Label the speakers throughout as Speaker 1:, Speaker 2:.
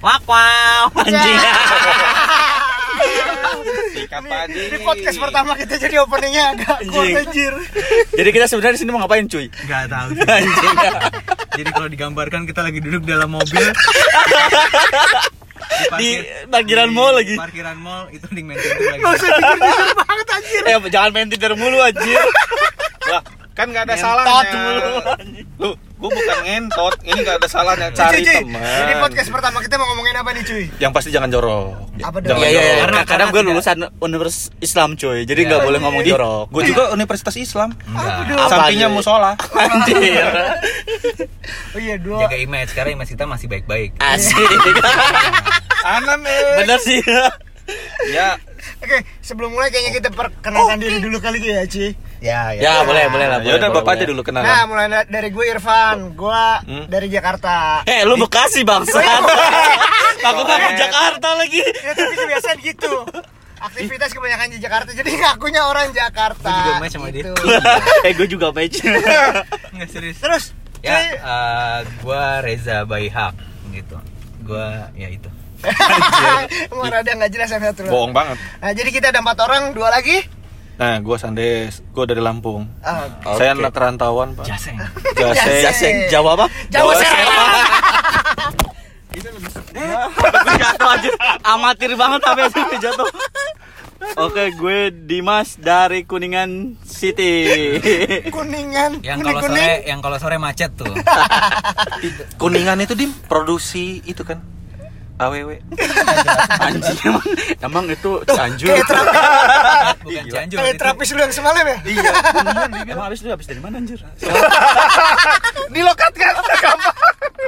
Speaker 1: Wak wow
Speaker 2: Iya.
Speaker 1: anjing.
Speaker 3: Sikap padi.
Speaker 4: Ini podcast pertama kita jadi openingnya agak
Speaker 1: Anjing.
Speaker 4: kuat anjir.
Speaker 2: Jadi kita sebenarnya di sini mau ngapain cuy?
Speaker 1: Enggak tahu.
Speaker 2: Anjing.
Speaker 1: Jadi kalau digambarkan kita lagi duduk dalam mobil.
Speaker 2: Di
Speaker 1: parkir-
Speaker 2: parkiran
Speaker 1: di
Speaker 2: mall lagi.
Speaker 1: Parkiran mall itu di maintenance lagi.
Speaker 4: Gak usah jujur-jujur banget anjir.
Speaker 2: Eh jangan main Tinder mulu anjir.
Speaker 3: Lah, kan nggak ada
Speaker 2: Tot
Speaker 3: salahnya.
Speaker 2: mulu. anjing.
Speaker 3: Lu, gua bukan ngentot. Ini nggak ada salahnya.
Speaker 4: Cuy,
Speaker 3: Cari
Speaker 4: cuy.
Speaker 3: teman.
Speaker 4: Ini podcast pertama kita mau ngomongin apa nih cuy?
Speaker 3: Yang pasti jangan jorok.
Speaker 4: Apa dong?
Speaker 3: Jangan
Speaker 2: Iya iya
Speaker 3: jorok.
Speaker 2: iya.
Speaker 1: Karena-
Speaker 2: Kadang, kadang gue
Speaker 1: karena
Speaker 2: lulusan Universitas Islam cuy. Jadi nggak boleh ngomong
Speaker 3: Ih,
Speaker 2: jorok.
Speaker 3: Gua juga Universitas Islam.
Speaker 1: Enggak.
Speaker 2: Iya. Apa,
Speaker 3: Sampingnya
Speaker 2: cuy?
Speaker 3: musola.
Speaker 2: Anjir.
Speaker 4: Oh iya dua.
Speaker 1: Jaga image sekarang image kita masih baik-baik.
Speaker 2: Asik.
Speaker 3: Anan eh.
Speaker 2: Bener sih.
Speaker 3: Ya,
Speaker 4: Oke, sebelum mulai kayaknya kita perkenalkan diri dulu kali ya cuy.
Speaker 1: Ya,
Speaker 2: Ya boleh boleh lah. boleh,
Speaker 3: ya udah
Speaker 2: boleh,
Speaker 3: bapak aja
Speaker 2: boleh.
Speaker 3: dulu
Speaker 4: Nah,
Speaker 3: kenalan.
Speaker 4: mulai da- dari gue Irfan, gue
Speaker 3: Hmm.
Speaker 4: dari Jakarta.
Speaker 2: Eh lu Bekasi bangsa.
Speaker 4: Iya,
Speaker 2: Aku kan ke Jakarta lagi.
Speaker 4: Ya tapi kebiasaan gitu. Aktivitas kebanyakan di Jakarta, jadi ngakunya orang Jakarta. Gitu.
Speaker 1: Gua juga match sama dia.
Speaker 2: eh gue juga match.
Speaker 1: Enggak serius.
Speaker 4: Terus,
Speaker 1: Ya,
Speaker 4: cuy,
Speaker 1: eh, gua Reza Baihak gitu. Gua ya itu.
Speaker 4: mau rada nggak jelas yang satu.
Speaker 3: Bohong banget.
Speaker 4: Nah, jadi kita ada empat orang, dua lagi.
Speaker 3: Nah, gua Sandes, gua dari Lampung.
Speaker 4: Ah,
Speaker 2: Oke.
Speaker 3: Saya anak kerantauan, Pak.
Speaker 1: Jaseng.
Speaker 3: Jaseng.
Speaker 4: Jaseng.
Speaker 2: Jaseng Jawa apa?
Speaker 4: Jawa Serang.
Speaker 2: Gue jatuh aja amatir banget sampai sini jatuh Oke gue Dimas dari Kuningan City
Speaker 4: Kuningan,
Speaker 1: Iya. Yang
Speaker 4: kuning
Speaker 1: kalau sore
Speaker 4: kuning.
Speaker 1: yang kalau sore macet tuh.
Speaker 2: Iya,
Speaker 3: Kuningan itu dim produksi itu kan. AWW.
Speaker 2: Anjing emang, emang itu Cianjur
Speaker 4: Kayak terapis,
Speaker 1: Bukan Cianjur.
Speaker 4: kayak
Speaker 1: itu.
Speaker 4: terapis lu yang semalam ya?
Speaker 2: Iya Kuningan Emang abis itu abis dari mana anjir?
Speaker 4: Dilokat kan?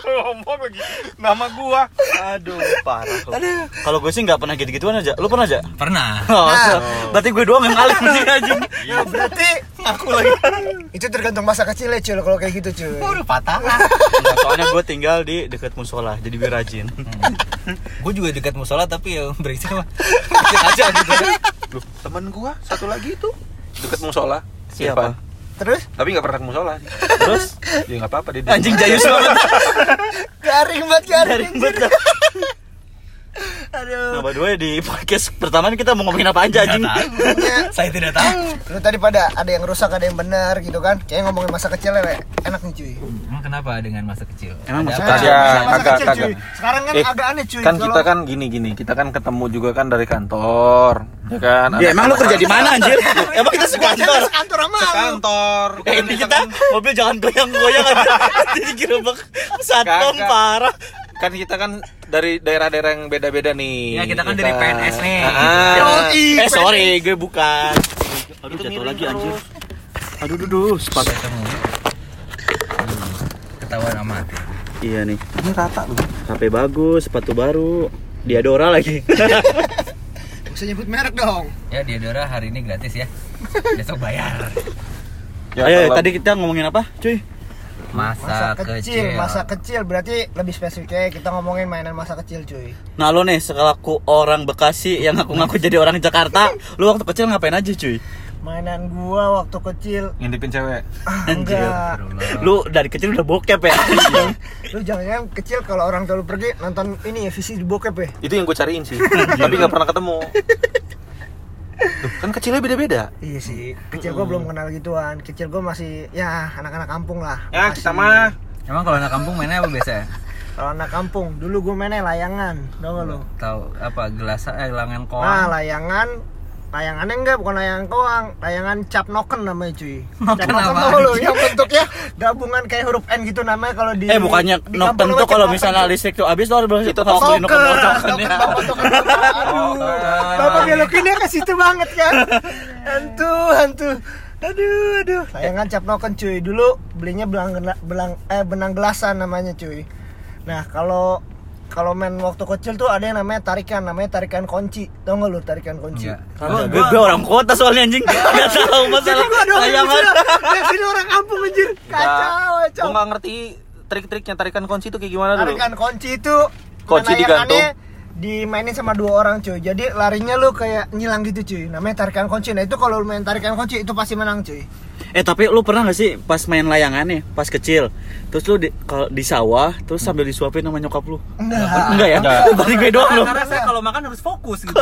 Speaker 3: Ngomong lagi. Nama gua.
Speaker 2: Aduh parah lu. Kalau gue sih gak pernah gitu-gituan aja Lu pernah aja?
Speaker 1: Nah. Pernah.
Speaker 2: Oh, berarti gue doang yang alim sih anjing
Speaker 4: Nah, berarti aku lagi. Itu tergantung masa kecil ya cuy, kalau kayak gitu cuy.
Speaker 1: Udah patah.
Speaker 2: Enggak, Nah, Soalnya gue tinggal di dekat musola Jadi gue rajin
Speaker 1: Gue juga dekat musola tapi ya berisik mah.
Speaker 2: Aja
Speaker 3: Loh, temen gua satu lagi itu deket musola.
Speaker 2: Siapa?
Speaker 3: Irfan.
Speaker 4: Terus
Speaker 3: Tapi nggak pernah ke musola. sih.
Speaker 2: Terus
Speaker 3: Ya nggak apa-apa dia.
Speaker 2: anjing jayus banget
Speaker 4: garing banget garing.
Speaker 2: Garing banget Nah,
Speaker 4: Aduh.
Speaker 2: by the way, di podcast pertama ini kita mau ngomongin apa aja anjing? Iya.
Speaker 1: Saya tidak tahu.
Speaker 4: Lu tadi pada ada yang rusak, ada yang benar gitu kan. Kayak ngomongin masa kecil ya, Le. enak nih cuy.
Speaker 1: Emang kenapa dengan masa kecil?
Speaker 2: Emang
Speaker 1: Ada
Speaker 2: masa
Speaker 1: apa?
Speaker 3: kecil? Ya,
Speaker 4: masa
Speaker 3: kagak,
Speaker 4: kecil cuy.
Speaker 3: kagak.
Speaker 4: Sekarang kan
Speaker 3: Eh,
Speaker 4: agak aneh cuy.
Speaker 3: kan kita
Speaker 4: kalau-
Speaker 3: kan gini gini kita kan ketemu juga kan dari kantor ya kan
Speaker 2: Ya emang lu kerja di mana anjir? emang kita
Speaker 4: Gua aja
Speaker 2: sekantor.
Speaker 4: nggak sekantor sama lu.
Speaker 3: kantor Kan
Speaker 2: Eh, ini kita mobil jangan goyang-goyang aja. Jadi gerobak satpam
Speaker 3: Kagak.
Speaker 2: parah.
Speaker 3: kan kita kan dari daerah-daerah yang beda-beda nih
Speaker 1: Ya, kita kan dari PNS nih.
Speaker 3: Ah.
Speaker 2: eh, sorry, gue bukan. Aduh, jatuh lagi anjir. Aduh, duduh, sepatu.
Speaker 1: Ketemu. Hmm, Ketahuan amat. ya.
Speaker 2: Iya nih. Ini rata lu. HP bagus, sepatu baru. Diadora lagi.
Speaker 4: Nggak usah nyebut merek dong.
Speaker 1: Ya Diadora hari ini gratis ya. Besok bayar.
Speaker 3: Ya,
Speaker 2: Ayo,
Speaker 3: kalau-
Speaker 2: Eh, tadi kita ngomongin apa, cuy?
Speaker 1: Masa, kecil.
Speaker 4: masa kecil berarti lebih spesifiknya kita ngomongin mainan masa kecil cuy.
Speaker 2: Nah lo nih, sekalaku orang Bekasi yang ngaku-ngaku jadi orang Jakarta Lu waktu kecil ngapain aja cuy?
Speaker 4: Mainan gua waktu kecil
Speaker 3: ngintipin cewek
Speaker 4: ah,
Speaker 2: Anjir.
Speaker 4: enggak.
Speaker 2: Lu dari kecil udah bokep ya?
Speaker 4: Lu jangan kecil kalau orang tua lu pergi nonton ini ya visi di bokep ya.
Speaker 3: itu yang gue cariin sih
Speaker 2: Iya.
Speaker 3: tapi nggak pernah ketemu Duh, kan kecilnya beda-beda
Speaker 4: Iya sih. Kecil gua belum kenal gituan. Kecil gua masih ya anak-anak kampung lah.
Speaker 3: ya
Speaker 4: Masih-
Speaker 3: kita mah
Speaker 1: Emang kalau anak kampung mainnya apa biasa?
Speaker 4: Kalau anak kampung, dulu gue mainnya layangan, tau gak lu?
Speaker 1: Tahu apa gelas eh langan
Speaker 3: Oh.
Speaker 1: koang.
Speaker 4: Nah, layangan layangannya enggak bukan layangan koang, layangan cap noken namanya cuy. Cap noken
Speaker 1: apaan?
Speaker 4: tau lu yang bentuknya gabungan kayak huruf N gitu namanya kalau di
Speaker 2: eh bukannya
Speaker 4: di kampung
Speaker 2: noken tuh
Speaker 4: namanya cap
Speaker 2: kalau
Speaker 4: noken.
Speaker 2: misalnya listrik tuh habis lo harus beli itu
Speaker 4: Noken,
Speaker 2: noken noken
Speaker 4: noken,
Speaker 2: ya.
Speaker 4: bapak noken, bapak. Aduh,
Speaker 3: Noken.
Speaker 4: bapak belokinnya ke situ banget kan. Hantu, hantu. Aduh, aduh. Layangan cap noken cuy. Dulu belinya belang belang eh benang gelasan namanya cuy. Nah, kalau kalau main waktu kecil tuh ada yang namanya tarikan, namanya tarikan kunci. Tau gak lu tarikan kunci?
Speaker 1: Iya.
Speaker 2: Gua- Gue gue orang kota soalnya anjing Gak tahu masalah layangan
Speaker 4: Yang sini orang kampung anjir. Kacau,
Speaker 3: gue
Speaker 4: kacau.
Speaker 3: nggak ngerti trik-triknya tarikan kunci itu kayak gimana dulu
Speaker 4: Tarikan kunci itu
Speaker 3: Kunci
Speaker 4: penayangannya
Speaker 3: digantung.
Speaker 4: dimainin sama dua orang cuy jadi larinya lu kayak nyilang gitu cuy namanya tarikan kunci nah itu kalau lu main tarikan kunci itu pasti menang cuy
Speaker 2: Eh tapi lu pernah gak sih pas main layangan nih, pas kecil, terus lu di, kalau di sawah, terus sambil disuapin sama nyokap lu?
Speaker 4: enggak
Speaker 2: Enggak ya? Balik gue doang lu.
Speaker 1: Karena, karena saya kalau makan harus fokus gitu.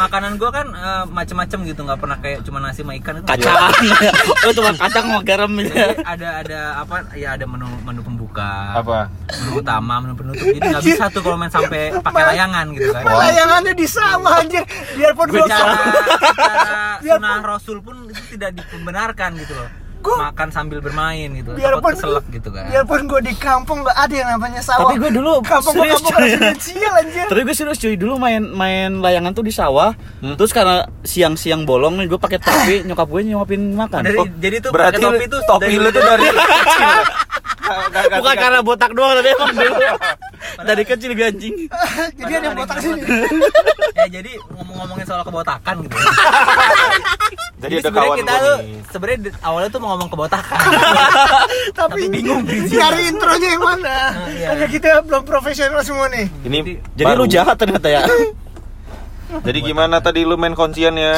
Speaker 1: Makanan gua kan eh, macem-macem gitu, nggak pernah kayak cuma nasi sama ikan itu.
Speaker 2: Kacang. lu cuma kacang sama garam
Speaker 1: Jadi
Speaker 2: aja.
Speaker 1: ada ada apa ya ada menu menu pembuka
Speaker 3: Apa?
Speaker 1: menu utama menu penutup jadi nggak bisa tuh kalau main sampai pakai layangan gitu kan
Speaker 4: layangannya Nah, di sawah anjir biarpun gua
Speaker 1: secara, secara
Speaker 4: Biarpun-
Speaker 1: sunah rasul pun itu tidak dibenarkan gitu loh
Speaker 4: Gua-
Speaker 1: makan sambil bermain gitu
Speaker 4: biarpun
Speaker 1: takut keselak gitu kan
Speaker 4: biarpun gue di kampung nggak ada yang namanya sawah
Speaker 2: Tapi gua dulu
Speaker 4: kampung gue
Speaker 2: serius,
Speaker 4: kampung
Speaker 2: cuy.
Speaker 4: residensial anjir
Speaker 2: Tapi gue serius cuy, dulu main main layangan tuh di sawah, terus karena siang-siang bolong nih gue pakai topi, nyokap gue nyuapin makan.
Speaker 1: dari,
Speaker 2: Oh,
Speaker 1: jadi tuh
Speaker 3: Berarti
Speaker 1: pakai
Speaker 3: topi, topi lu tuh dari kecil. Nggak- nggak- nggak-
Speaker 2: Bukan karena botak doang tapi emang dulu dari kecil gue anjing.
Speaker 4: jadi ada yang botak sini
Speaker 1: ya jadi ngomong-ngomongin soal kebotakan gitu
Speaker 3: Jadi ada
Speaker 1: sebenarnya
Speaker 3: kawan
Speaker 1: kita
Speaker 3: gua
Speaker 1: tuh
Speaker 3: nih.
Speaker 1: sebenarnya di- awalnya tuh mau ngomong kebotakan
Speaker 4: tapi
Speaker 1: bingung, bingung.
Speaker 4: nyari intronya yang mana
Speaker 1: iya.
Speaker 4: karena kita belum profesional semua nih
Speaker 3: Ini
Speaker 2: Jadi lu
Speaker 3: baru.
Speaker 2: jahat ternyata ya.
Speaker 3: Jadi gimana tadi lu main kuncian ya?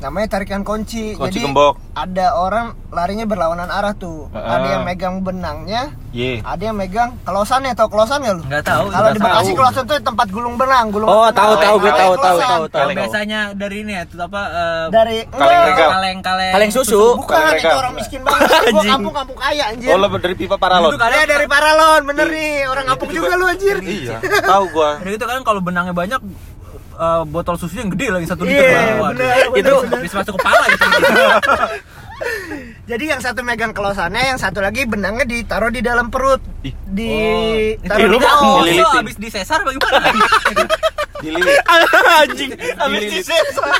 Speaker 4: namanya tarikan kunci, jadi
Speaker 3: Kunci gembok.
Speaker 4: ada orang larinya berlawanan arah tuh
Speaker 3: Heeh.
Speaker 4: ada yang megang benangnya
Speaker 3: Ye.
Speaker 4: ada yang megang kelosannya tau kelosan gak lu?
Speaker 1: Nggak tahu,
Speaker 4: kalau
Speaker 1: nggak
Speaker 4: di Bekasi
Speaker 1: tahu.
Speaker 4: kelosan tuh tempat gulung benang gulung
Speaker 2: Oh,
Speaker 4: benang.
Speaker 2: tahu tahu gue
Speaker 4: Namanya
Speaker 2: tahu tahu
Speaker 4: kelosan.
Speaker 2: tahu tahu.
Speaker 1: yang biasanya dari ini ya tuh apa eh,
Speaker 4: dari
Speaker 3: Kaleng
Speaker 4: enggak,
Speaker 3: regal.
Speaker 1: kaleng kaleng
Speaker 2: Kaleng susu.
Speaker 4: bukan itu
Speaker 3: regal.
Speaker 4: orang miskin banget gua
Speaker 2: Anjing.
Speaker 4: kampung kampung kaya anjir
Speaker 3: Oh, lu dari pipa paralon.
Speaker 1: Itu kan-
Speaker 4: Dia dari Paralon, bener nih. Orang kampung juga lu anjir.
Speaker 3: Iya, tahu gua.
Speaker 1: Udah gitu kan kalau benangnya banyak eh, botol susu yang gede lagi satu liter.
Speaker 4: Iya,
Speaker 1: Waduh,
Speaker 4: bener,
Speaker 1: itu
Speaker 4: bener.
Speaker 1: bisa masuk kepala gitu.
Speaker 4: Iya. Jadi yang satu megang kelosannya, yang satu lagi benangnya ditaruh di dalam perut. Di
Speaker 1: Itu
Speaker 2: Oh.
Speaker 4: taruh
Speaker 2: lu
Speaker 4: di
Speaker 2: mah
Speaker 4: daun.
Speaker 1: oh, itu
Speaker 3: dililitin.
Speaker 1: habis disesar bagaimana?
Speaker 3: Dililit.
Speaker 2: anjing habis disesar.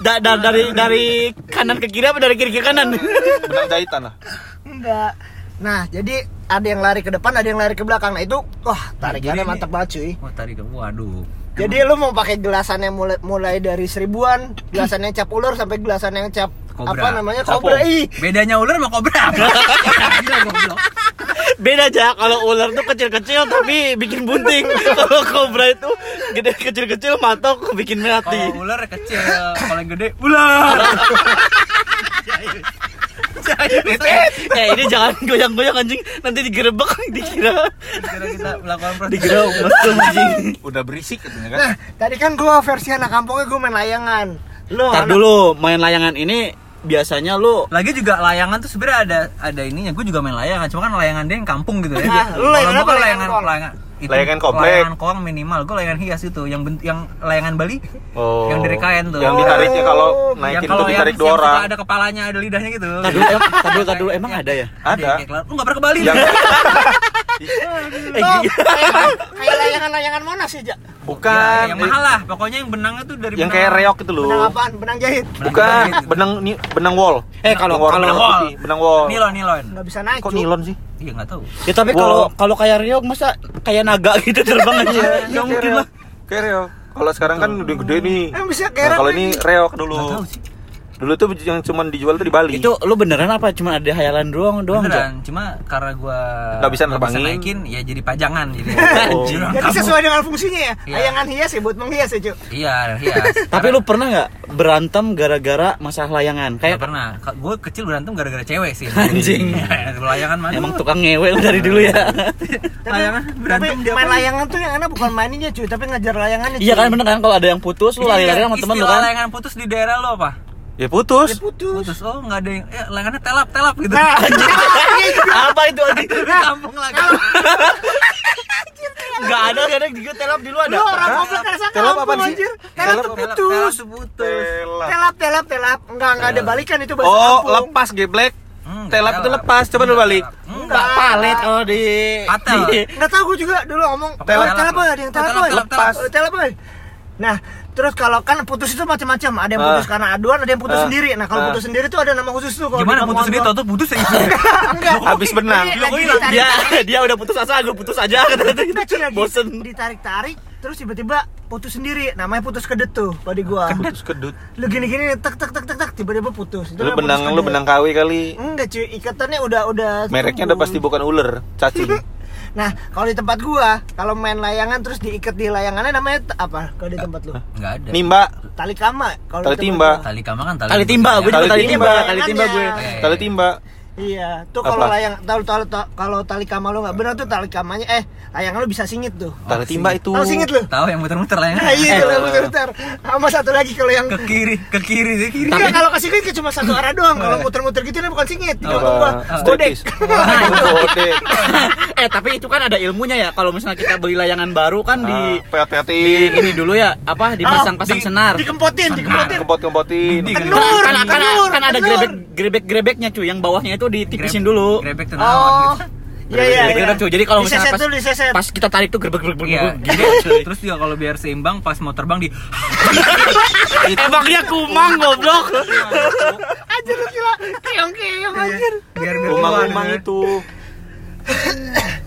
Speaker 2: Da, da- dari dari kanan ke kiri apa dari kiri ke kanan?
Speaker 3: Benang jahitan lah.
Speaker 4: Enggak. Nah, jadi ada yang lari ke depan, ada yang lari ke belakang. Nah, itu wah,
Speaker 1: Jadi
Speaker 4: tarikannya
Speaker 1: ini-
Speaker 4: mantap banget, cuy.
Speaker 1: Wah, tarik Oh, waduh.
Speaker 4: Jadi lu mau pakai gelasannya mulai, mulai dari seribuan, gelasannya cap ulur sampai gelasan yang cap
Speaker 1: Kobra.
Speaker 4: apa namanya?
Speaker 3: Capung.
Speaker 4: Kobra. Ih,
Speaker 1: Bedanya ular sama kobra. apa? Gila, goblok.
Speaker 2: Beda aja kalau ular tuh kecil-kecil tapi bikin bunting. Kalau kobra itu gede kecil-kecil matok bikin
Speaker 1: Kalau
Speaker 2: mati.
Speaker 1: ular kecil, kalau yang gede ular. Jahil. Jahil.
Speaker 2: Eh ini jangan goyang-goyang anjing nanti digerebek dikira
Speaker 1: Kira kita melakukan
Speaker 2: dikira
Speaker 1: prosedur.
Speaker 2: mesum anjing.
Speaker 3: Udah berisik katanya kan.
Speaker 4: Nah, tadi kan gua versi anak kampungnya gua main layangan. Lu
Speaker 2: Tar
Speaker 4: anak-
Speaker 2: dulu main layangan ini biasanya lu
Speaker 1: Lagi juga layangan tuh sebenarnya ada ada ininya. Gue juga main layangan, cuma kan layangan dia yang kampung gitu ya.
Speaker 4: Ah, lu layangan
Speaker 1: Kalau gua
Speaker 4: apa
Speaker 1: kan
Speaker 4: layangan koang?
Speaker 1: layangan itu,
Speaker 3: Layangan komplek.
Speaker 1: Layangan koang minimal. Gue layangan hias itu, yang bent- yang layangan Bali.
Speaker 3: Oh.
Speaker 1: Yang dari kain tuh. Ya
Speaker 3: Yang ditariknya kalau naikin tuh ditarik dua
Speaker 1: yang suka
Speaker 3: orang.
Speaker 1: ada kepalanya, ada lidahnya gitu. Iya.
Speaker 2: Tar dulu, em- tar dulu, tar dulu, eh, emang ada ya?
Speaker 3: Ada. Ya,
Speaker 1: Kayak kelar- Lu gak pernah ke Bali. Iya,
Speaker 3: Yang
Speaker 2: Eh,
Speaker 4: Lu
Speaker 2: gini-
Speaker 4: kayak- kayak layangan-layangan monas sih, Jak.
Speaker 3: bukan
Speaker 1: yang mahal lah. Pokoknya yang benangnya tuh dari
Speaker 3: yang
Speaker 1: benang-
Speaker 3: kayak reok itu loh.
Speaker 4: Benang apaan? Benang jahit.
Speaker 3: Bukan,
Speaker 1: Benang-
Speaker 3: benang ni- benang wall.
Speaker 2: Eh, kalau-
Speaker 3: Benang wall,
Speaker 2: kalau-
Speaker 3: benang
Speaker 1: Wall.
Speaker 3: putih, benang wall.
Speaker 1: Nilon, nilon.
Speaker 4: Nggak bisa naik.
Speaker 3: Kok
Speaker 4: cuy.
Speaker 3: nilon sih?
Speaker 1: Iya, enggak tahu.
Speaker 2: Ya tapi kalau kalau kayak Rio masa kayak naga gitu terbang aja. Nggak mungkin lah.
Speaker 3: Kayak Iya, reok. Kalau sekarang kan udah gede nih.
Speaker 4: Emang bisa kayak
Speaker 3: Nah, kalau
Speaker 4: reok
Speaker 3: ini reok dulu.
Speaker 1: Enggak tahu sih.
Speaker 3: Dulu tuh yang cuman dijual tuh di Bali.
Speaker 2: Itu lu beneran apa cuma ada hayalan doang doang aja?
Speaker 1: Beneran, cuma karena gua
Speaker 3: Nggak bisa nerbangin.
Speaker 1: naikin, ya jadi pajangan jadi.
Speaker 3: Oh.
Speaker 1: Jadi orang
Speaker 4: Jadi
Speaker 1: kampung.
Speaker 4: sesuai dengan fungsinya ya.
Speaker 1: Iya.
Speaker 4: Layangan hias ya buat menghias ya, Cuk.
Speaker 1: Iya, hias.
Speaker 2: Tapi lu pernah nggak berantem gara-gara masalah layangan?
Speaker 1: Gak
Speaker 2: Kayak
Speaker 1: pernah. Gue kecil berantem gara-gara cewek sih.
Speaker 2: Anjing.
Speaker 1: Iya, Layangan mana?
Speaker 2: emang
Speaker 1: tuh?
Speaker 2: tukang ngewe lu dari dulu ya.
Speaker 4: Tapi,
Speaker 1: Layangan
Speaker 4: tapi
Speaker 1: berantem dia
Speaker 4: main
Speaker 1: apa?
Speaker 4: layangan tuh yang enak bukan maininnya, cuy, tapi ngejar layangannya.
Speaker 2: Iya
Speaker 4: cuy.
Speaker 2: kan bener kan kalau ada yang putus lu lari-lari sama temen lu
Speaker 1: Iya, Istilah
Speaker 2: kan.
Speaker 1: layangan putus di daerah lo apa?
Speaker 3: ya putus.
Speaker 4: Dia putus.
Speaker 1: Putus. Oh, nggak ada yang ya, layangannya telap, telap gitu.
Speaker 4: Nah,
Speaker 2: apa itu anjing?
Speaker 1: Di kampung lah. kan.
Speaker 2: Nggak ada kadang juga telap di lu ada.
Speaker 4: lu orang goblok kan
Speaker 3: Telap
Speaker 4: kampung
Speaker 3: apaan sih?
Speaker 4: anjir. Telap
Speaker 3: Telap
Speaker 4: tuh
Speaker 1: Telap,
Speaker 4: putus.
Speaker 1: telap tuh putus.
Speaker 3: Telap.
Speaker 4: Telap, telap, telap. Enggak, enggak ada balikan itu bahasa
Speaker 3: Oh,
Speaker 4: kampung.
Speaker 3: lepas geblek.
Speaker 1: Hmm,
Speaker 3: telap itu lepas, coba lu balik.
Speaker 1: Enggak.
Speaker 2: Nggak palet kalau di
Speaker 1: Patel.
Speaker 2: di-
Speaker 4: Nggak tahu gue juga dulu ngomong
Speaker 1: Telap.
Speaker 4: telap telap boy, ada yang telap boy.
Speaker 1: Telap, telap,
Speaker 4: Eh, Telap boy. Nah, terus kalau kan putus itu macam-macam. Ada yang putus
Speaker 3: Ah.
Speaker 4: karena aduan, ada yang putus
Speaker 3: Ah.
Speaker 4: sendiri. Nah, kalau
Speaker 3: Ah.
Speaker 4: putus sendiri tuh ada nama khusus tuh. kalau di
Speaker 1: Gimana putus
Speaker 4: kampung
Speaker 1: ini
Speaker 4: gua.
Speaker 1: tau tuh putus ya? ini.
Speaker 4: Enggak.
Speaker 3: Habis Iya. benang.
Speaker 4: Ini
Speaker 1: Logo
Speaker 4: lagi
Speaker 1: hilang.
Speaker 4: ditarik-
Speaker 2: dia dia udah putus asa gue putus aja kata dia
Speaker 4: Enggak, cuy, lagi
Speaker 2: bosen
Speaker 4: ditarik-tarik terus tiba-tiba putus sendiri namanya putus kedet tuh kalau di gua
Speaker 3: Putus kedut.
Speaker 4: lu gini-gini tek tek tek tek tek tiba-tiba putus
Speaker 3: Lu
Speaker 4: namanya
Speaker 3: benang
Speaker 4: putus
Speaker 3: lu
Speaker 4: kedet.
Speaker 3: benang KW kali.
Speaker 4: enggak cuy ikatannya udah udah
Speaker 3: Mereknya udah pasti bukan ular, cacing.
Speaker 4: Nah, kalau di tempat gua, kalau main layangan terus diikat di layangannya namanya t- apa? Kalau di tempat lu?
Speaker 1: Nggak ada.
Speaker 3: Nimba,
Speaker 4: Tali kama. Kalau di
Speaker 3: Tali
Speaker 4: tempat
Speaker 3: timba.
Speaker 4: gua.
Speaker 1: Tali kama kan tali.
Speaker 2: Tali timba, gue juga
Speaker 3: Tali
Speaker 2: tali timba,
Speaker 3: timba.
Speaker 2: tali timba gue.
Speaker 1: Eh,
Speaker 3: tali timba.
Speaker 4: Iya, tuh kalau
Speaker 3: Apa?
Speaker 4: layang tahu tahu tahu- kalau tali kama lu nggak benar tuh tali kamanya eh layangan lu bisa singit tuh.
Speaker 3: Tali timba itu.
Speaker 4: Tahu singit lu?
Speaker 1: Tahu yang muter-muter lah ya.
Speaker 4: Nah, iya itu lah, muter-muter. Sama satu lagi kalau yang
Speaker 1: Ke kiri, ke kiri, ke kiri.
Speaker 4: Enggak, kalau ke singit cuma satu arah doang. Kalau muter-muter gitu ini bukan singit. Di kampung gua. Oh,
Speaker 3: Apa?
Speaker 4: Bodek.
Speaker 3: Striptease. Bodek.
Speaker 2: eh tapi itu kan ada ilmunya ya. Kalau misalnya kita beli layangan baru kan di
Speaker 3: Ah, Peot-peotin.
Speaker 2: ini dulu ya apa dipasang-pasang
Speaker 4: Oh, di-
Speaker 2: senar.
Speaker 4: Dikempotin, dikempotin.
Speaker 3: Kebot-kebotin.
Speaker 1: Di-
Speaker 2: Kan,
Speaker 4: Tenur,
Speaker 2: kan, kan,
Speaker 4: tenur,
Speaker 2: kan ada
Speaker 4: tenur.
Speaker 2: grebek grebek grebeknya cuy yang bawahnya itu ditipisin
Speaker 1: Grab-
Speaker 2: dulu.
Speaker 1: Grabek tuh
Speaker 4: Oh.
Speaker 1: gitu.
Speaker 4: Iya, iya,
Speaker 2: Grebek,
Speaker 4: iya.
Speaker 2: grebek, cuy. Jadi kalau misalnya
Speaker 4: Diseset
Speaker 2: pas,
Speaker 4: tuh, diseset.
Speaker 2: pas kita tarik tuh grebek grebek
Speaker 1: Iya,
Speaker 2: grebek.
Speaker 1: jadi terus juga kalau biar seimbang pas mau terbang di
Speaker 2: Emangnya kumang goblok.
Speaker 4: Anjir lu gila. Keong-keong anjir.
Speaker 1: biar biar keluar.
Speaker 3: Umang-umang itu.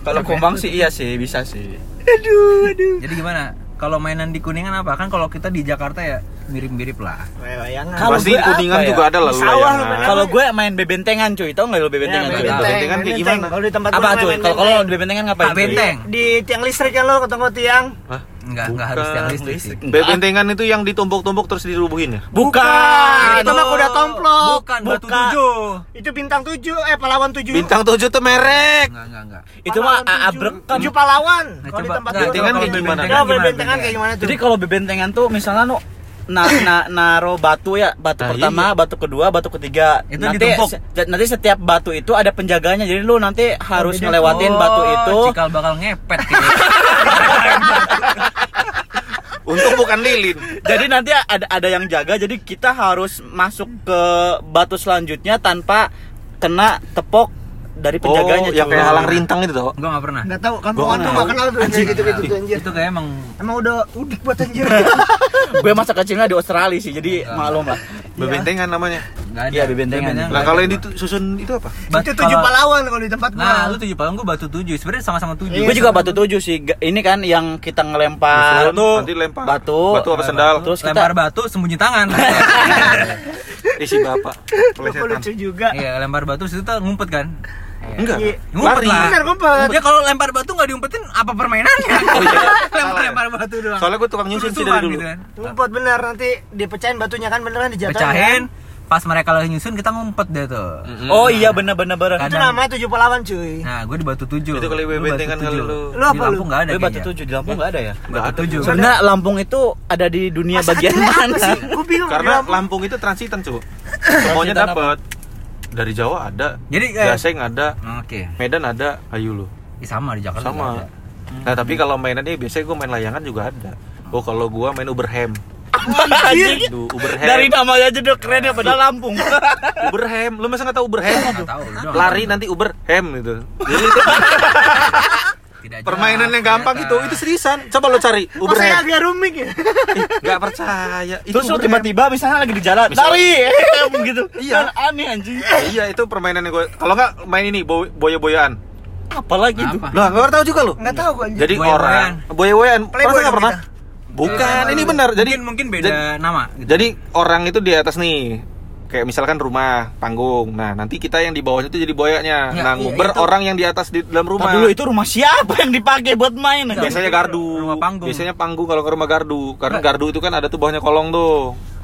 Speaker 2: Kalau kumang sih iya sih bisa sih.
Speaker 4: Aduh, aduh.
Speaker 1: Jadi gimana? Kalau mainan di Kuningan apa? Kan kalau kita di Jakarta ya mirip-mirip lah.
Speaker 4: Layangan.
Speaker 2: Kalau
Speaker 3: Pasti
Speaker 2: gue apa
Speaker 3: kuningan
Speaker 2: ya?
Speaker 3: juga ada lah lu
Speaker 4: Sawah lu
Speaker 3: layangan.
Speaker 4: bener.
Speaker 2: Kalau gue main bebentengan cuy, tau nggak lo
Speaker 4: Ya,
Speaker 2: bebentengan?
Speaker 4: main
Speaker 2: cuy?
Speaker 3: benteng.
Speaker 4: benteng,
Speaker 3: Bentengan kayak
Speaker 4: main
Speaker 3: gimana?
Speaker 4: benteng. Kalau di tempat
Speaker 2: kan Apa
Speaker 4: gua
Speaker 2: cuy?
Speaker 4: main
Speaker 2: Kalau kalau
Speaker 4: benteng.
Speaker 2: di bebentengan ngapain? cuy?
Speaker 1: Pak Ah, Benteng.
Speaker 4: di tiang listrik ya lo ketemu tiang.
Speaker 3: Hah?
Speaker 1: Enggak, enggak harus tiang
Speaker 3: Bukan
Speaker 1: listrik sih.
Speaker 3: Bebentengan itu yang ditumpuk-tumpuk terus dirubuhin ya?
Speaker 2: Bukan.
Speaker 4: itu mah kuda tomplok.
Speaker 1: Bukan, batu tujuh.
Speaker 4: Itu bintang 7 eh pahlawan 7.
Speaker 2: Iya.
Speaker 3: Bintang 7 tuh merek.
Speaker 1: Enggak, enggak, enggak.
Speaker 2: Itu mah abrek kan.
Speaker 4: 7 pahlawan.
Speaker 1: Nah,
Speaker 4: Kalau di
Speaker 1: coba-
Speaker 4: tempat
Speaker 1: nah,
Speaker 4: gua.
Speaker 3: bentengan
Speaker 1: kalau
Speaker 3: kayak gimana?
Speaker 1: bebentengan
Speaker 4: Nah, bentengan kayak gimana tuh?
Speaker 2: Jadi kalau bebentengan tuh misalnya no na, na- naro batu ya batu
Speaker 3: Nah,
Speaker 2: pertama
Speaker 3: iya.
Speaker 2: batu kedua batu ketiga
Speaker 1: Itu
Speaker 2: nanti
Speaker 1: ditumpuk.
Speaker 2: se- nanti setiap batu itu ada penjaganya jadi lu nanti harus ngelewatin batu
Speaker 1: Oh,
Speaker 2: itu
Speaker 1: Cikal bakal ngepet. gitu.
Speaker 3: Untung bukan lilin.
Speaker 2: jadi nanti ada ada yang jaga jadi kita harus masuk ke batu selanjutnya tanpa kena tepok dari penjaganya
Speaker 3: Oh,
Speaker 2: cuy.
Speaker 3: yang kayak halang rintang itu toh.
Speaker 1: Gua enggak pernah.
Speaker 4: Enggak tahu, kampungan tuh enggak kenal tuh yang kayak gitu-gitu tuh gitu, anjir.
Speaker 1: Itu kayak emang
Speaker 4: Emang udah udah buat anjir.
Speaker 2: gue masa kecilnya di Australia sih jadi
Speaker 1: Enggak.
Speaker 2: malum lah
Speaker 3: Bebentengan namanya.
Speaker 1: enggak ada.
Speaker 2: Iya, bebentengan.
Speaker 3: Nah, kalau yang disusun itu apa?
Speaker 1: Bat-
Speaker 4: Itu 7
Speaker 1: kalau-
Speaker 4: pahlawan kalau di tempat gua.
Speaker 1: Nah, lu tujuh palang, gua batu tujuh. Sebenarnya sama-sama tujuh.
Speaker 3: Iya,
Speaker 2: gue juga batu tujuh sih Ga- ini kan yang kita ngelempar
Speaker 3: Batu, nanti lempar.
Speaker 2: batu
Speaker 3: Batu apa sendal?
Speaker 2: terus kita
Speaker 1: lempar batu sembunyi tangan.
Speaker 3: Isi bapak.
Speaker 4: Lucu
Speaker 3: Plesetan.
Speaker 4: lucu juga.
Speaker 1: Iya, lempar batu situ tuh ngumpet kan.
Speaker 3: Enggak.
Speaker 4: Iya.
Speaker 1: Ngumpet
Speaker 3: Lari.
Speaker 1: lah.
Speaker 4: Bener, ngumpet.
Speaker 1: Ya kalau lempar batu nggak diumpetin apa permainannya?
Speaker 3: Oh,
Speaker 1: lempar lempar batu doang.
Speaker 3: iya. ya. Soalnya gue tukang nyusun sih dari
Speaker 1: Susuan
Speaker 3: dulu.
Speaker 1: gitu kan.
Speaker 4: Ngumpet bener nanti dipecahin batunya kan beneran dijatuhin.
Speaker 1: Pecahin. Pas mereka lagi nyusun kita ngumpet deh tuh.
Speaker 2: oh
Speaker 1: Hmm.
Speaker 2: iya bener bener bener
Speaker 1: Kan,
Speaker 4: Itu namanya tujuh pahlawan cuy.
Speaker 1: Nah, gue di batu tujuh.
Speaker 3: Itu kali
Speaker 1: Lu
Speaker 3: bebentengan
Speaker 1: batu
Speaker 3: kali
Speaker 1: tujuh.
Speaker 3: kan lu.
Speaker 4: Lu apa
Speaker 1: di
Speaker 4: lu?
Speaker 1: Lampung nggak ada.
Speaker 2: Gue batu
Speaker 1: kayaknya.
Speaker 2: tujuh di Lampung nggak ada ya?
Speaker 3: Enggak
Speaker 1: Batu
Speaker 3: ada.
Speaker 1: tujuh.
Speaker 2: Sebenarnya Lampung itu ada di dunia
Speaker 4: Masa
Speaker 2: Iya, bagian
Speaker 4: kecilnya apa
Speaker 2: mana?
Speaker 4: sih? Gua
Speaker 1: iya,
Speaker 4: bingung.
Speaker 3: Karena
Speaker 4: Di Lampung.
Speaker 3: Lampung itu transitan, Cuk. Semuanya
Speaker 2: Transitan
Speaker 3: dapat. Dari Jawa ada.
Speaker 1: Jadi, eh, Oh,
Speaker 3: Gaseng ada.
Speaker 1: Oke.
Speaker 3: Medan ada. Ayo lu.
Speaker 1: Ih, sama di Jakarta. juga
Speaker 3: Sama.
Speaker 1: ada.
Speaker 3: Nah, tapi kalau mainannya biasanya gue main layangan juga ada. Oh, kalau gua main Uber Ham.
Speaker 2: Anjing.
Speaker 3: Aduh, Uber Ham.
Speaker 2: Dari namanya aja udah keren ya padahal Lampung.
Speaker 3: Uber Ham. Lu masa nggak tahu Uber Ham?
Speaker 1: Nggak tahu, udah.
Speaker 3: Lari nanti Uber Ham gitu. Jadi itu nah.
Speaker 1: Tidak jelas,
Speaker 3: permainan yang gampang
Speaker 1: ternyata.
Speaker 3: gitu. Itu seriusan. Coba lu cari Uber
Speaker 4: Maksudnya
Speaker 3: Ham.
Speaker 4: agak rumit ya.
Speaker 3: Gak percaya. Itu
Speaker 2: Terus lu
Speaker 3: Uber Ham.
Speaker 2: tiba-tiba misalnya lagi di jalan,
Speaker 3: Misal-
Speaker 2: lari em, gitu.
Speaker 3: Iya.
Speaker 2: Kan aneh anjing.
Speaker 3: Iya, itu permainan yang gue. Kalau nggak main ini boy- boya-boyaan.
Speaker 2: Apalagi itu.
Speaker 1: Apa?
Speaker 3: Lah, nggak tahu juga lu.
Speaker 4: Enggak tahu gua anjir.
Speaker 3: Jadi
Speaker 1: Boya-boyaan.
Speaker 3: orang boya-boyaan.
Speaker 4: Playboy
Speaker 3: Pernah nggak
Speaker 4: dong
Speaker 3: pernah?
Speaker 4: kita.
Speaker 3: Bukan, ini benar. Jadi
Speaker 1: mungkin Iya, mungkin beda
Speaker 3: jadi-
Speaker 1: nama gitu.
Speaker 3: Jadi orang itu di atas nih. Kayak misalkan rumah, panggung. Nah, nanti kita yang di bawahnya itu jadi boyanya.
Speaker 1: Ya,
Speaker 3: nah,
Speaker 1: iya,
Speaker 3: nguber
Speaker 1: itu.
Speaker 3: orang yang di atas di dalam
Speaker 2: Ntar
Speaker 3: rumah.
Speaker 2: dulu itu rumah siapa yang dipakai buat main?
Speaker 1: Enggak.
Speaker 3: biasanya
Speaker 1: Itu
Speaker 3: gardu.
Speaker 1: rumah panggung.
Speaker 3: Biasanya panggung kalau ke rumah gardu. Karena gardu itu kan ada tuh bawahnya kolong tuh.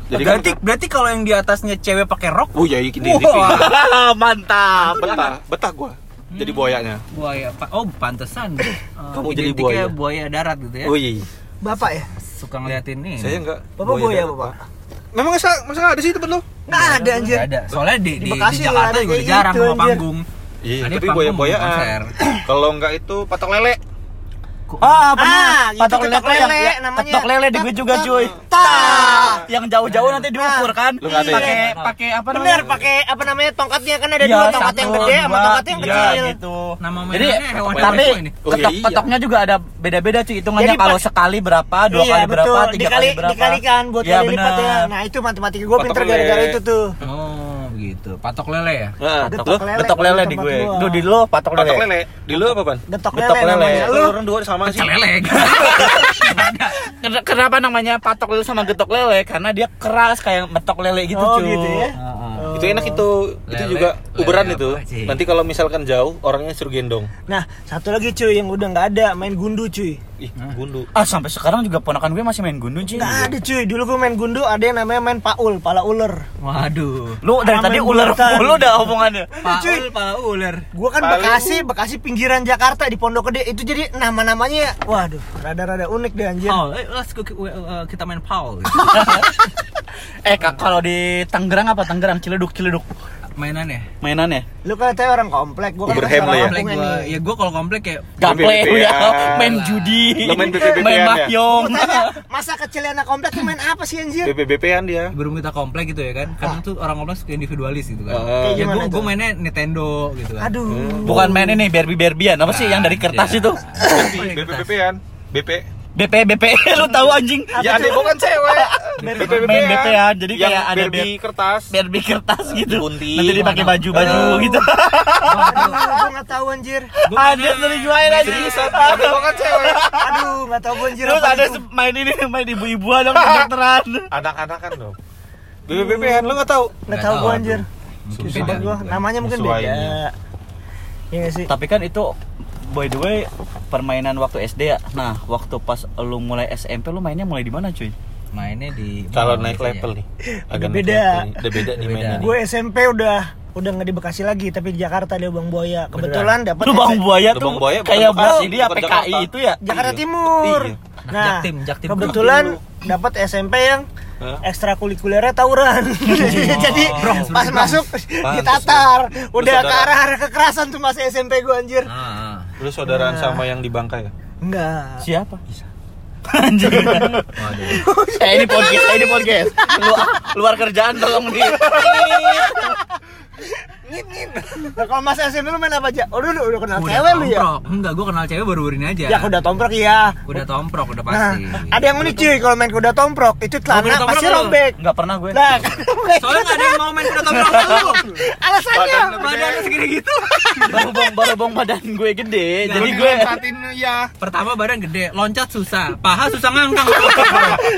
Speaker 3: Jadi kan
Speaker 1: berarti berarti kalau yang di atasnya cewek pakai rok,
Speaker 3: Oh ya, ini ini-
Speaker 1: Wah. Hmm.
Speaker 3: ini.
Speaker 2: Mantap.
Speaker 3: betah, betah gua. Jadi boyanya.
Speaker 1: buaya. pa- Oh, pantesan. Eh,
Speaker 3: Kamu jadi
Speaker 1: identiknya
Speaker 3: buaya.
Speaker 1: buaya darat gitu ya.
Speaker 3: Oh iya. iya.
Speaker 4: Bapak ya?
Speaker 1: Suka ngeliatin nih.
Speaker 3: Saya enggak.
Speaker 2: Oh,
Speaker 4: Bapak
Speaker 2: iya,
Speaker 4: boya,
Speaker 3: darat,
Speaker 4: Bapak.
Speaker 3: Pak. Memang masa masa nggak ada sih tempat lu?
Speaker 4: Enggak ada anjir.
Speaker 1: Nggak ada. Soalnya di,
Speaker 4: Di
Speaker 1: di, di
Speaker 4: Bekasi nggak
Speaker 1: Jakarta
Speaker 4: ada
Speaker 1: juga
Speaker 4: kayak
Speaker 1: jarang
Speaker 4: gitu,
Speaker 1: sama
Speaker 4: anjir.
Speaker 1: panggung.
Speaker 3: Iya,
Speaker 1: Ada
Speaker 3: tapi
Speaker 1: panggung, konser.
Speaker 3: boya-boyaan. Kalau enggak itu patok lele.
Speaker 2: Ah, pernah.
Speaker 4: Ah, itu
Speaker 2: patok lele
Speaker 4: ketok
Speaker 2: tuh yang
Speaker 4: lele
Speaker 2: ya,
Speaker 4: namanya.
Speaker 2: ketok lele di gue juga, cuy.
Speaker 4: Tak.
Speaker 2: Yang jauh-jauh nanti diukur kan.
Speaker 3: Lu nggak ada ya?
Speaker 2: Pakai pakai apa namanya?
Speaker 4: Ah. Bener pakai apa namanya tongkatnya kan ada
Speaker 2: Iya,
Speaker 4: dua tongkat yang
Speaker 2: satu,
Speaker 4: gede sama
Speaker 2: dua,
Speaker 4: tongkat yang
Speaker 2: iya,
Speaker 4: kecil.
Speaker 2: gitu.
Speaker 1: Nama
Speaker 2: Jadi
Speaker 1: mainannya hewan
Speaker 2: tapi
Speaker 1: kepo ini.
Speaker 3: Oh, iya,
Speaker 2: ketok,
Speaker 3: iya.
Speaker 2: ketoknya juga ada beda-beda cuy hitungannya
Speaker 4: Jadi pas-
Speaker 2: kalau sekali berapa, dua
Speaker 4: Iya,
Speaker 2: kali berapa,
Speaker 4: betul.
Speaker 2: tiga
Speaker 4: Dikali-
Speaker 2: kali berapa.
Speaker 4: Dikalikan buat
Speaker 2: Iya,
Speaker 4: kali lipat ya.
Speaker 2: bener.
Speaker 4: Nah, itu matematika gue
Speaker 3: Patok
Speaker 4: pinter
Speaker 3: lele.
Speaker 4: gara-gara itu tuh.
Speaker 1: Oh, gitu. Patok lele ya?
Speaker 3: Heeh.
Speaker 4: Ada
Speaker 3: Lu
Speaker 4: patok lele
Speaker 2: Betok
Speaker 4: kalau
Speaker 2: lele
Speaker 4: di
Speaker 2: di
Speaker 4: tempat
Speaker 2: gue.
Speaker 4: gua.
Speaker 2: Lu di lu patok lele.
Speaker 3: ya? patok lele. Di lu apa, Pan?
Speaker 4: Detok
Speaker 2: Detok
Speaker 4: lele
Speaker 2: lele.
Speaker 4: namanya. Lu
Speaker 3: Lu orang dua sama sih.
Speaker 1: Celele.
Speaker 2: Ken- Kenapa namanya patok lele sama getok lele? Karena dia keras kayak metok lele gitu
Speaker 4: Oh,
Speaker 2: cuy.
Speaker 4: gitu ya.
Speaker 1: Heeh.
Speaker 4: Oh.
Speaker 3: itu enak itu itu
Speaker 1: Lele-
Speaker 3: juga uberan
Speaker 1: lele
Speaker 3: itu
Speaker 1: apa sih?
Speaker 3: nanti kalau misalkan jauh orangnya suruh gendong
Speaker 4: Nah, satu lagi cuy yang udah nggak ada, main gundu cuy.
Speaker 3: ih gundu
Speaker 2: Ah sampai sekarang juga ponakan gue masih main gundu cuy.
Speaker 4: Nggak ada cuy. Dulu gue main gundu ada yang namanya main paul, pala ular.
Speaker 1: Waduh.
Speaker 2: Lu dari
Speaker 4: Sama
Speaker 2: tadi
Speaker 4: yang
Speaker 2: ular
Speaker 4: buletan.
Speaker 2: mulu dah omongannya.
Speaker 4: cuy.
Speaker 1: Paul, pala ular.
Speaker 4: Gue kan
Speaker 3: Palu.
Speaker 4: Bekasi, Bekasi pinggiran Jakarta di Pondok Gede itu jadi nama-namanya waduh, rada-rada unik deh anjir.
Speaker 2: Oh.
Speaker 1: Paul, eh, let's go, eh, kita main Paul.
Speaker 2: Eh kak, kalau di Tangerang apa Tangerang Ciledug Ciledug
Speaker 1: Mainan ya?
Speaker 2: mainannya?
Speaker 4: Lu kan katanya orang komplek, gue kan
Speaker 3: Uber Ham
Speaker 4: orang
Speaker 3: lah ya.
Speaker 1: Komplek
Speaker 4: kampungnya
Speaker 1: gua,
Speaker 4: nih.
Speaker 1: ya gua kalau komplek kayak
Speaker 2: Gaple
Speaker 3: BBB-an.
Speaker 2: ya, main judi,
Speaker 3: Lu main BBB-an
Speaker 2: main
Speaker 3: ya?
Speaker 2: mahjong.
Speaker 4: Gua tanya, masa kecil anak komplek tuh main apa sih
Speaker 2: Iya.
Speaker 4: anjir?
Speaker 3: BPBP-an dia
Speaker 1: belum kita komplek gitu ya kan karena tuh orang komplek suka individualis gitu kan
Speaker 3: Heeh.
Speaker 1: ya
Speaker 4: Kayak
Speaker 1: gua,
Speaker 4: gimana
Speaker 1: gua
Speaker 4: tuh?
Speaker 1: mainnya Nintendo gitu kan
Speaker 4: Aduh.
Speaker 2: Bukan main ini Barbie Barbian apa sih yang dari kertas
Speaker 1: Iya.
Speaker 2: itu?
Speaker 3: BPBP-an BP
Speaker 2: BP BP lu tahu anjing?
Speaker 3: ya ada bukan cewek BPBP-an.
Speaker 2: Main BPBP-an, jadi
Speaker 3: Yang
Speaker 2: kayak ada
Speaker 3: Barbie kertas
Speaker 2: Barbie kertas gitu.
Speaker 3: Digunting.
Speaker 2: Nanti dipakai baju-baju gitu.
Speaker 4: Aduh, gue nggak tahu anjir.
Speaker 2: Ada sering main aja.
Speaker 3: ada bukan cewek
Speaker 4: Aduh, nggak tahu gue anjir.
Speaker 2: Terus
Speaker 4: apa
Speaker 2: ada
Speaker 4: itu.
Speaker 2: se- main ini main ibu-ibuan dong kedokteran.
Speaker 3: anak-anakan dong BPBP-an lu nggak tahu
Speaker 4: nggak tahu gue anjir.
Speaker 1: Susah.
Speaker 4: Coba gue namanya mungkin
Speaker 3: Musuhainya.
Speaker 4: beda. Iya nggak sih.
Speaker 2: Tapi kan itu by the way permainan waktu SD ya. Nah, waktu pas lu mulai SMP lu mainnya mulai di mana, cuy?
Speaker 1: mainnya di
Speaker 3: kalau
Speaker 4: Iya,
Speaker 3: naik level nih agak naik
Speaker 4: beda.
Speaker 3: level nih. udah beda nih
Speaker 1: Beda.
Speaker 3: mainnya nih.
Speaker 4: Gue SMP udah udah nggak di Bekasi lagi tapi di Jakarta dia Bang Buaya. Kebetulan dapat
Speaker 2: Lubang buaya tuh
Speaker 3: Lubang buaya bukan
Speaker 2: kayak
Speaker 3: Bekasi,
Speaker 2: bos ini ya
Speaker 3: bukan
Speaker 2: PKI
Speaker 3: Jakarta.
Speaker 2: itu ya.
Speaker 4: Jakarta Timur.
Speaker 3: Iya.
Speaker 4: Nah,
Speaker 1: Jaktim, Jaktim. Iya.
Speaker 4: kebetulan dapat SMP yang
Speaker 3: Hah?
Speaker 4: ekstrakurikulernya tawuran.
Speaker 1: Iya.
Speaker 4: Jadi pas masuk ditatar, udah ke
Speaker 3: saudara.
Speaker 4: arah arah kekerasan tuh masa SMP gue anjir.
Speaker 1: ah,
Speaker 3: lu saudaraan
Speaker 4: Iya.
Speaker 3: sama yang di Bangka ya
Speaker 4: Enggak.
Speaker 2: Siapa? Anjir. eh ini podcast, eh, ini podcast. Luar, luar kerjaan tolong di.
Speaker 4: Nah, kalau masa SMP lu main apa aja? Oh, dulu udah kenal
Speaker 1: udah
Speaker 4: cewek lu ya?
Speaker 1: tomprok enggak gua kenal cewek baru-baru ini aja
Speaker 4: Ya, kuda tomprok iya.
Speaker 1: udah tomprok udah
Speaker 4: Nah,
Speaker 1: pasti
Speaker 4: ada yang unik cuy kalau main kuda tomprok itu
Speaker 1: kuda
Speaker 4: celana
Speaker 1: tomprok
Speaker 4: pasti
Speaker 1: lu?
Speaker 4: robek.
Speaker 2: Enggak pernah gue.
Speaker 4: Nah,
Speaker 1: soalnya nggak ada yang mau main kuda tomprok lu
Speaker 4: alasannya
Speaker 1: badan lu segini gitu
Speaker 2: Barobong barobong badan gue gede. jadi
Speaker 3: Nah, Lu
Speaker 2: gue
Speaker 3: dimanfaatin,
Speaker 4: iya.
Speaker 3: ya
Speaker 1: pertama badan gede loncat susah paha susah ngangkang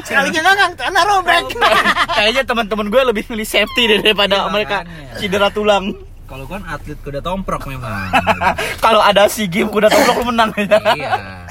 Speaker 4: sekalinya ngangang celana robek.
Speaker 2: kayaknya teman-teman gue lebih milih safety daripada
Speaker 1: Iya,
Speaker 2: mereka
Speaker 1: makanya.
Speaker 2: cedera tulang. Nah,
Speaker 1: kalau gua kan atlet kuda tomprok memang
Speaker 2: Kalau ada si game kuda tomprok lu menang.
Speaker 1: iya
Speaker 4: Iya
Speaker 1: Celana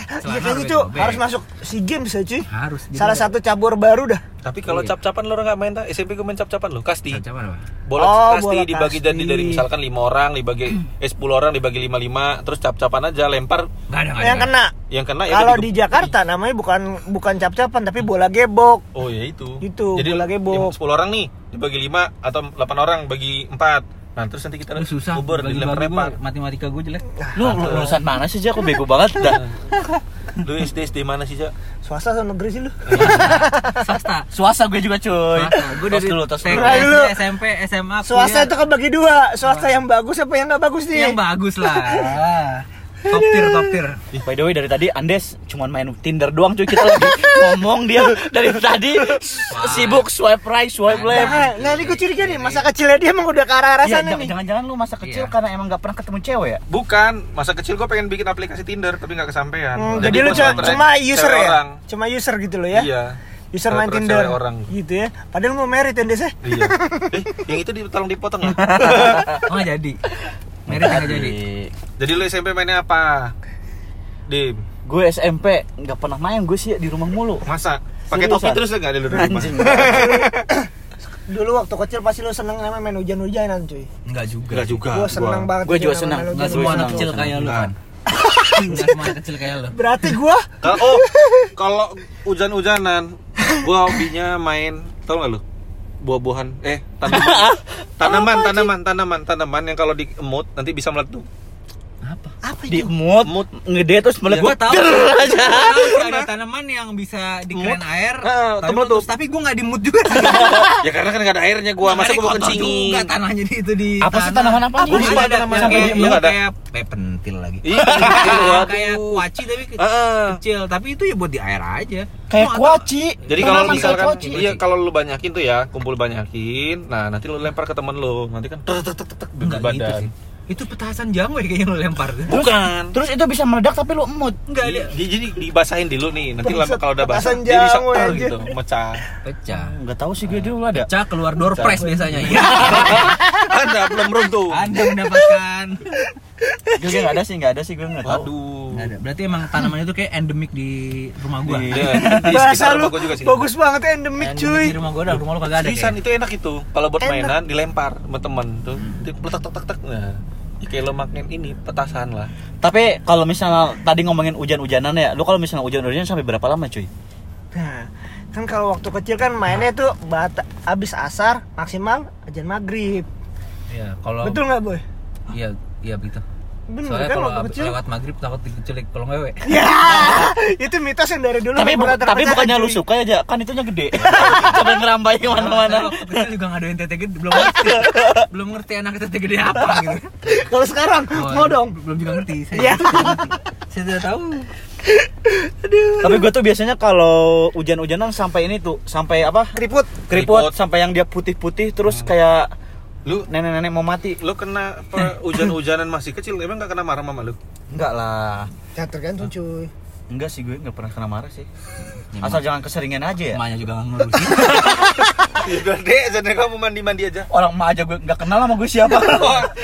Speaker 4: kayaknya
Speaker 1: robek-
Speaker 4: tuh
Speaker 1: robek.
Speaker 4: harus masuk SEA Games ya cuy.
Speaker 1: harus gitu.
Speaker 4: Salah satu cabur baru dah.
Speaker 3: tapi kalau
Speaker 4: Iya.
Speaker 3: cap-capan lu nggak main tak SMP gue main cap-capan lo kasti
Speaker 1: Cacapan apa?
Speaker 3: bola
Speaker 4: Oh,
Speaker 3: kasti
Speaker 4: bola
Speaker 3: dibagi
Speaker 4: kasti.
Speaker 3: jadi dari misalkan lima orang dibagi eh sepuluh orang dibagi lima lima terus cap-capan aja lempar
Speaker 1: Nggak ada, nggak ada.
Speaker 4: Yang kena.
Speaker 3: yang kena ya
Speaker 4: Kalau
Speaker 3: udah
Speaker 4: di
Speaker 3: digep-
Speaker 4: Jakarta namanya bukan bukan cap-capan tapi bola gebok.
Speaker 3: oh ya itu
Speaker 4: Itu,
Speaker 3: jadi
Speaker 4: bola gebok.
Speaker 3: lima- sepuluh orang nih dibagi lima atau delapan orang bagi empat nah terus nanti kita
Speaker 1: Lu susah
Speaker 3: uber
Speaker 1: bagi-bagi
Speaker 3: dilempar-lempar
Speaker 4: ya?
Speaker 1: gua, matematika gue jelek
Speaker 2: Lu lulusan mana sih, Jack? Kok bego banget dah.
Speaker 3: lu SD SD mana sih cak
Speaker 4: Swasta sama negeri sih lu?
Speaker 1: swasta
Speaker 2: Suasa gue juga, cuy.
Speaker 1: gue
Speaker 2: Tos
Speaker 1: dari
Speaker 2: dulu, tos dulu.
Speaker 1: TK,
Speaker 4: Nah, dulu.
Speaker 1: SMP SMA
Speaker 4: Swasta
Speaker 1: kuliah.
Speaker 4: itu kebagi dua, swasta yang bagus apa yang nggak bagus nih?
Speaker 1: yang bagus lah top tier top tier
Speaker 2: By the way dari tadi Andes cuman main Tinder doang cuy kita lagi ngomong dia dari tadi s- sibuk swipe right swipe left.
Speaker 4: Nah, nah ini gue curiga nih, masa kecilnya dia emang udah ke arah-arah
Speaker 2: Iya,
Speaker 4: sana
Speaker 2: jangan-
Speaker 4: nih.
Speaker 2: jangan-jangan lu masa kecil
Speaker 1: Iya.
Speaker 2: karena emang gak pernah ketemu cewek ya?
Speaker 3: bukan masa kecil gue pengen bikin aplikasi Tinder tapi nggak kesampaian
Speaker 4: Hmm, jadi lu
Speaker 3: gua
Speaker 4: cuma,
Speaker 3: swipe
Speaker 4: cuma
Speaker 3: right,
Speaker 4: user
Speaker 3: cewek
Speaker 4: ya?
Speaker 3: orang.
Speaker 4: Cuma user gitu loh ya?
Speaker 3: iya
Speaker 4: User main
Speaker 3: Cewek-
Speaker 4: Tinder.
Speaker 3: cewek orang
Speaker 4: Gitu ya. Padahal mau merit ya, Des ya?
Speaker 3: iya eh yang itu di- tolong dipotong ya
Speaker 1: oh nggak jadi merit nggak jadi
Speaker 3: Jadi lu SMP mainnya apa? Dim,
Speaker 2: Gue SMP nggak pernah main gue sih di rumah mulu.
Speaker 3: masa? Pakai
Speaker 2: Seriusan?
Speaker 3: topi terus enggak ada lu di rumah?
Speaker 2: Anjing.
Speaker 4: Dulu waktu kecil pasti lu seneng namanya main hujan-hujanan cuy.
Speaker 1: nggak juga
Speaker 3: Enggak juga.
Speaker 4: Gue seneng banget.
Speaker 2: Gua
Speaker 4: cuy,
Speaker 2: juga
Speaker 4: sama
Speaker 2: seneng.
Speaker 4: main
Speaker 1: nggak
Speaker 2: Gua
Speaker 1: semua
Speaker 4: hujan-hujanan.
Speaker 2: senang,
Speaker 1: anak kecil
Speaker 2: gua
Speaker 1: kayak lu
Speaker 3: senang.
Speaker 1: kan nggak semua anak kecil kayak lu
Speaker 4: Berarti gue
Speaker 3: Kalau oh, kalau hujan-hujanan, gua hobinya main, tau gak lu? Buah-buahan, eh tanaman. tanaman, tanaman, tanaman, tanaman yang kalau diemut nanti bisa meletup.
Speaker 1: apa
Speaker 4: apa
Speaker 2: Di
Speaker 4: itu?
Speaker 2: mood, ngede terus meledak.
Speaker 1: gue tahu
Speaker 2: Der
Speaker 1: Ya, Iya, Gua
Speaker 2: aja.
Speaker 1: tahu sih ada tanaman yang bisa dikeren
Speaker 3: Mut.
Speaker 1: air
Speaker 3: Heeh, temen
Speaker 1: tapi
Speaker 3: tuh.
Speaker 1: meletus. tapi gue nggak dimut juga
Speaker 3: ya karena kan gak ada airnya gua, masa gua mau
Speaker 1: Kotor juga
Speaker 3: kencingin.
Speaker 1: tanahnya di- itu di
Speaker 2: Apa sih tanaman apa?
Speaker 1: Gua
Speaker 2: Apa
Speaker 3: sih
Speaker 1: lupa ada
Speaker 3: tanaman
Speaker 1: yang
Speaker 3: apa?
Speaker 1: kayak
Speaker 3: Lu
Speaker 1: yang
Speaker 3: ada?
Speaker 1: kayak eh, pentil lagi
Speaker 3: Iya, Ah. pentil,
Speaker 1: Kayak-
Speaker 3: waduh.
Speaker 1: kayak kuaci tapi ke-
Speaker 3: Heeh.
Speaker 1: kecil tapi itu ya buat di air aja
Speaker 2: Kayak
Speaker 1: Lu atau-
Speaker 2: kuaci.
Speaker 3: Jadi
Speaker 2: Kenapa
Speaker 3: kalau
Speaker 2: kayak
Speaker 3: misalkan
Speaker 2: kuaci?
Speaker 3: iya kalau lu banyakin tuh ya, kumpul banyakin. Nah, nanti lu lempar ke temen lu, nanti kan tek tek tek tek tek di
Speaker 1: Enggak gitu
Speaker 3: badan.
Speaker 1: sih. itu petasan jangwe kayaknya lo lempar tuh.
Speaker 3: Bukan.
Speaker 2: Terus itu bisa meledak tapi lu emut.
Speaker 3: Di,
Speaker 1: Enggak, dia
Speaker 3: di- jadi dibasahin dulu nih. Nanti lama
Speaker 4: Bangsat,
Speaker 3: kalau udah basah
Speaker 4: petasan
Speaker 3: dia bisa
Speaker 4: jamu,
Speaker 3: ter
Speaker 4: anjir.
Speaker 3: gitu, mecah.
Speaker 1: pecah.
Speaker 2: Enggak tahu sih gue dulu ada.
Speaker 1: Pecah keluar door
Speaker 3: Pecah.
Speaker 1: prize biasanya. Iya.
Speaker 3: Anda belum runtuh.
Speaker 1: Anda mendapatkan.
Speaker 3: Iya.
Speaker 2: Gue enggak ada sih, enggak ada sih gue enggak tahu.
Speaker 3: Waduh.
Speaker 1: Nggak ada. Berarti emang tanaman itu kayak endemik di rumah gua.
Speaker 3: Iya, di
Speaker 4: Bahasa
Speaker 3: sekitar
Speaker 4: lu
Speaker 3: rumah gua juga sih.
Speaker 4: bagus banget endemik
Speaker 1: Endemik
Speaker 4: cuy.
Speaker 1: Di rumah gua dah, rumah lo kagak ada.
Speaker 3: Seriusan
Speaker 1: kayaknya.
Speaker 3: itu enak itu. Kalau buat
Speaker 4: Enak.
Speaker 3: mainan dilempar sama teman tuh.
Speaker 1: Hmm.
Speaker 3: Letak tak tak tak. Nah, ya kayak lo makin ini petasan lah.
Speaker 2: Tapi kalau misalnya tadi ngomongin hujan-hujanan ya, lu kalau misalnya hujan-hujanan sampai berapa lama cuy?
Speaker 4: Nah, kan kalau waktu kecil kan mainnya tuh bata, abis asar maksimal ajan maghrib.
Speaker 1: Iya, kalau
Speaker 4: Betul nggak boy?
Speaker 1: Iya, iya begitu.
Speaker 4: Bener
Speaker 1: Soalnya
Speaker 4: kan
Speaker 1: kalau
Speaker 4: waktu
Speaker 1: ab-
Speaker 4: kecil.
Speaker 1: lewat maghrib takut diculik kalau ngewe.
Speaker 4: Ya, itu mitos yang dari dulu.
Speaker 2: tapi
Speaker 4: nggak
Speaker 2: bu-
Speaker 4: pernah
Speaker 2: tapi
Speaker 4: terpecahkan,
Speaker 2: bukannya lu
Speaker 4: cuy.
Speaker 2: suka aja, kan itunya gede. Sampai ngerambai
Speaker 1: Saya
Speaker 2: kemana-mana.
Speaker 1: waktu kecil juga ngaduin tete gede belum ngerti. belum ngerti anak tete gede apa gitu.
Speaker 4: Kalau sekarang mau
Speaker 3: iya.
Speaker 1: Oh,
Speaker 4: dong.
Speaker 1: Belum juga ngerti. Saya,
Speaker 4: Iya.
Speaker 1: saya tidak tahu.
Speaker 2: tapi gue tuh biasanya kalau hujan-hujanan sampai ini tuh, sampai apa?
Speaker 4: Keriput.
Speaker 2: Keriput,
Speaker 3: Keriput.
Speaker 2: sampai yang dia putih-putih terus kayak
Speaker 3: Lu
Speaker 2: nenek-nenek mau mati.
Speaker 3: lu kena apa, hujan-hujanan masih kecil emang gak kena marah mama lu?
Speaker 2: Enggak lah.
Speaker 4: Ya tergantung cuy.
Speaker 2: Enggak sih gue enggak pernah kena marah sih.
Speaker 1: Ya,
Speaker 2: Asal jangan keseringan aja ya.
Speaker 4: Iya.
Speaker 1: Emaknya juga nggak ngurusin.
Speaker 3: Udah deh, jadi kamu mandi-mandi aja.
Speaker 2: Orang emak aja gue enggak kenal sama gue siapa.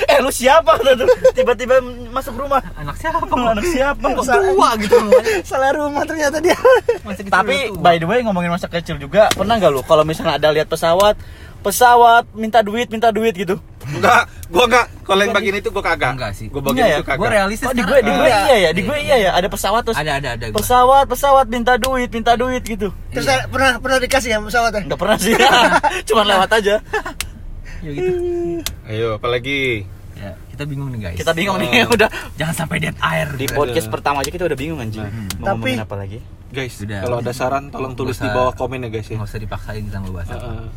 Speaker 2: eh lu siapa tuh? Tiba-tiba masuk rumah.
Speaker 1: Anak
Speaker 2: Lu
Speaker 1: siapa? Kok
Speaker 2: Anak siapa?
Speaker 1: tua gitu namanya.
Speaker 4: Salah rumah ternyata dia.
Speaker 3: Iya.
Speaker 1: Masih kecil
Speaker 2: Tapi
Speaker 1: udah tua.
Speaker 2: by the way ngomongin masa kecil juga, pernah nggak lu kalau misalnya ada lihat pesawat, pesawat minta duit, minta duit gitu?
Speaker 3: Enggak, gua enggak. Kalau yang bagian itu gua kagak.
Speaker 1: Enggak sih.
Speaker 3: Gua bagian
Speaker 2: Iya ya,
Speaker 3: itu kagak.
Speaker 1: gue realistis
Speaker 2: Oh, di gue,
Speaker 1: sekarang.
Speaker 2: di gue
Speaker 1: Ada.
Speaker 2: iya ya, di gue iya ya, ada pesawat terus.
Speaker 1: Ada ada ada gue.
Speaker 2: Pesawat, pesawat minta duit, minta duit gitu.
Speaker 4: Terus
Speaker 1: Iya.
Speaker 4: pernah pernah dikasih ya pesawatnya?
Speaker 2: Enggak pernah sih. Cuma lewat aja.
Speaker 1: Ya gitu.
Speaker 3: Ayo, apalagi
Speaker 1: Ya, kita bingung nih guys.
Speaker 2: Kita bingung nih,
Speaker 3: Oh.
Speaker 2: udah
Speaker 1: Jangan sampai dead air.
Speaker 2: di podcast pertama aja kita udah bingung anjing. Mau
Speaker 4: Tapi-
Speaker 2: ngomongin apa lagi?
Speaker 3: guys,
Speaker 1: Udah.
Speaker 3: kalau ada saran tolong tulis
Speaker 1: Nggak
Speaker 3: di
Speaker 1: usah-
Speaker 3: bawah komen ya guys ya.
Speaker 1: Nggak usah dipaksain sama bahasa.
Speaker 3: Heeh.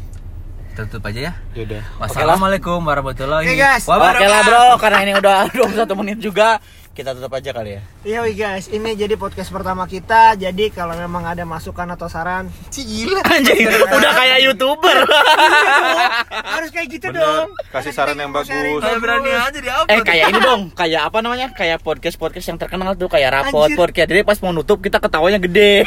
Speaker 1: Kita tutup aja ya.
Speaker 3: Yaudah.
Speaker 1: Wassalamualaikum warahmatullahi
Speaker 4: Oke, guys.
Speaker 2: Oke
Speaker 1: wabarakatuh.
Speaker 2: lah bro, karena ini udah 21 menit juga, kita tutup aja kali ya.
Speaker 4: Iya wih, guys, ini jadi podcast pertama kita. Jadi kalau memang ada masukan atau saran, Ci, gila.
Speaker 2: Anjing, udah kayak youtuber.
Speaker 4: harus kayak gitu
Speaker 3: Bener.
Speaker 4: dong.
Speaker 3: Kasih
Speaker 4: Karena
Speaker 3: saran
Speaker 4: kita
Speaker 3: yang
Speaker 4: mau sharing
Speaker 3: bagus.
Speaker 1: Saya berani
Speaker 4: terus.
Speaker 1: aja di upload.
Speaker 2: eh kayak ini dong, kayak apa namanya? Kayak podcast podcast yang terkenal tuh, kayak rapot
Speaker 4: Anjir.
Speaker 2: podcast. Jadi pas mau nutup kita ketawanya gede.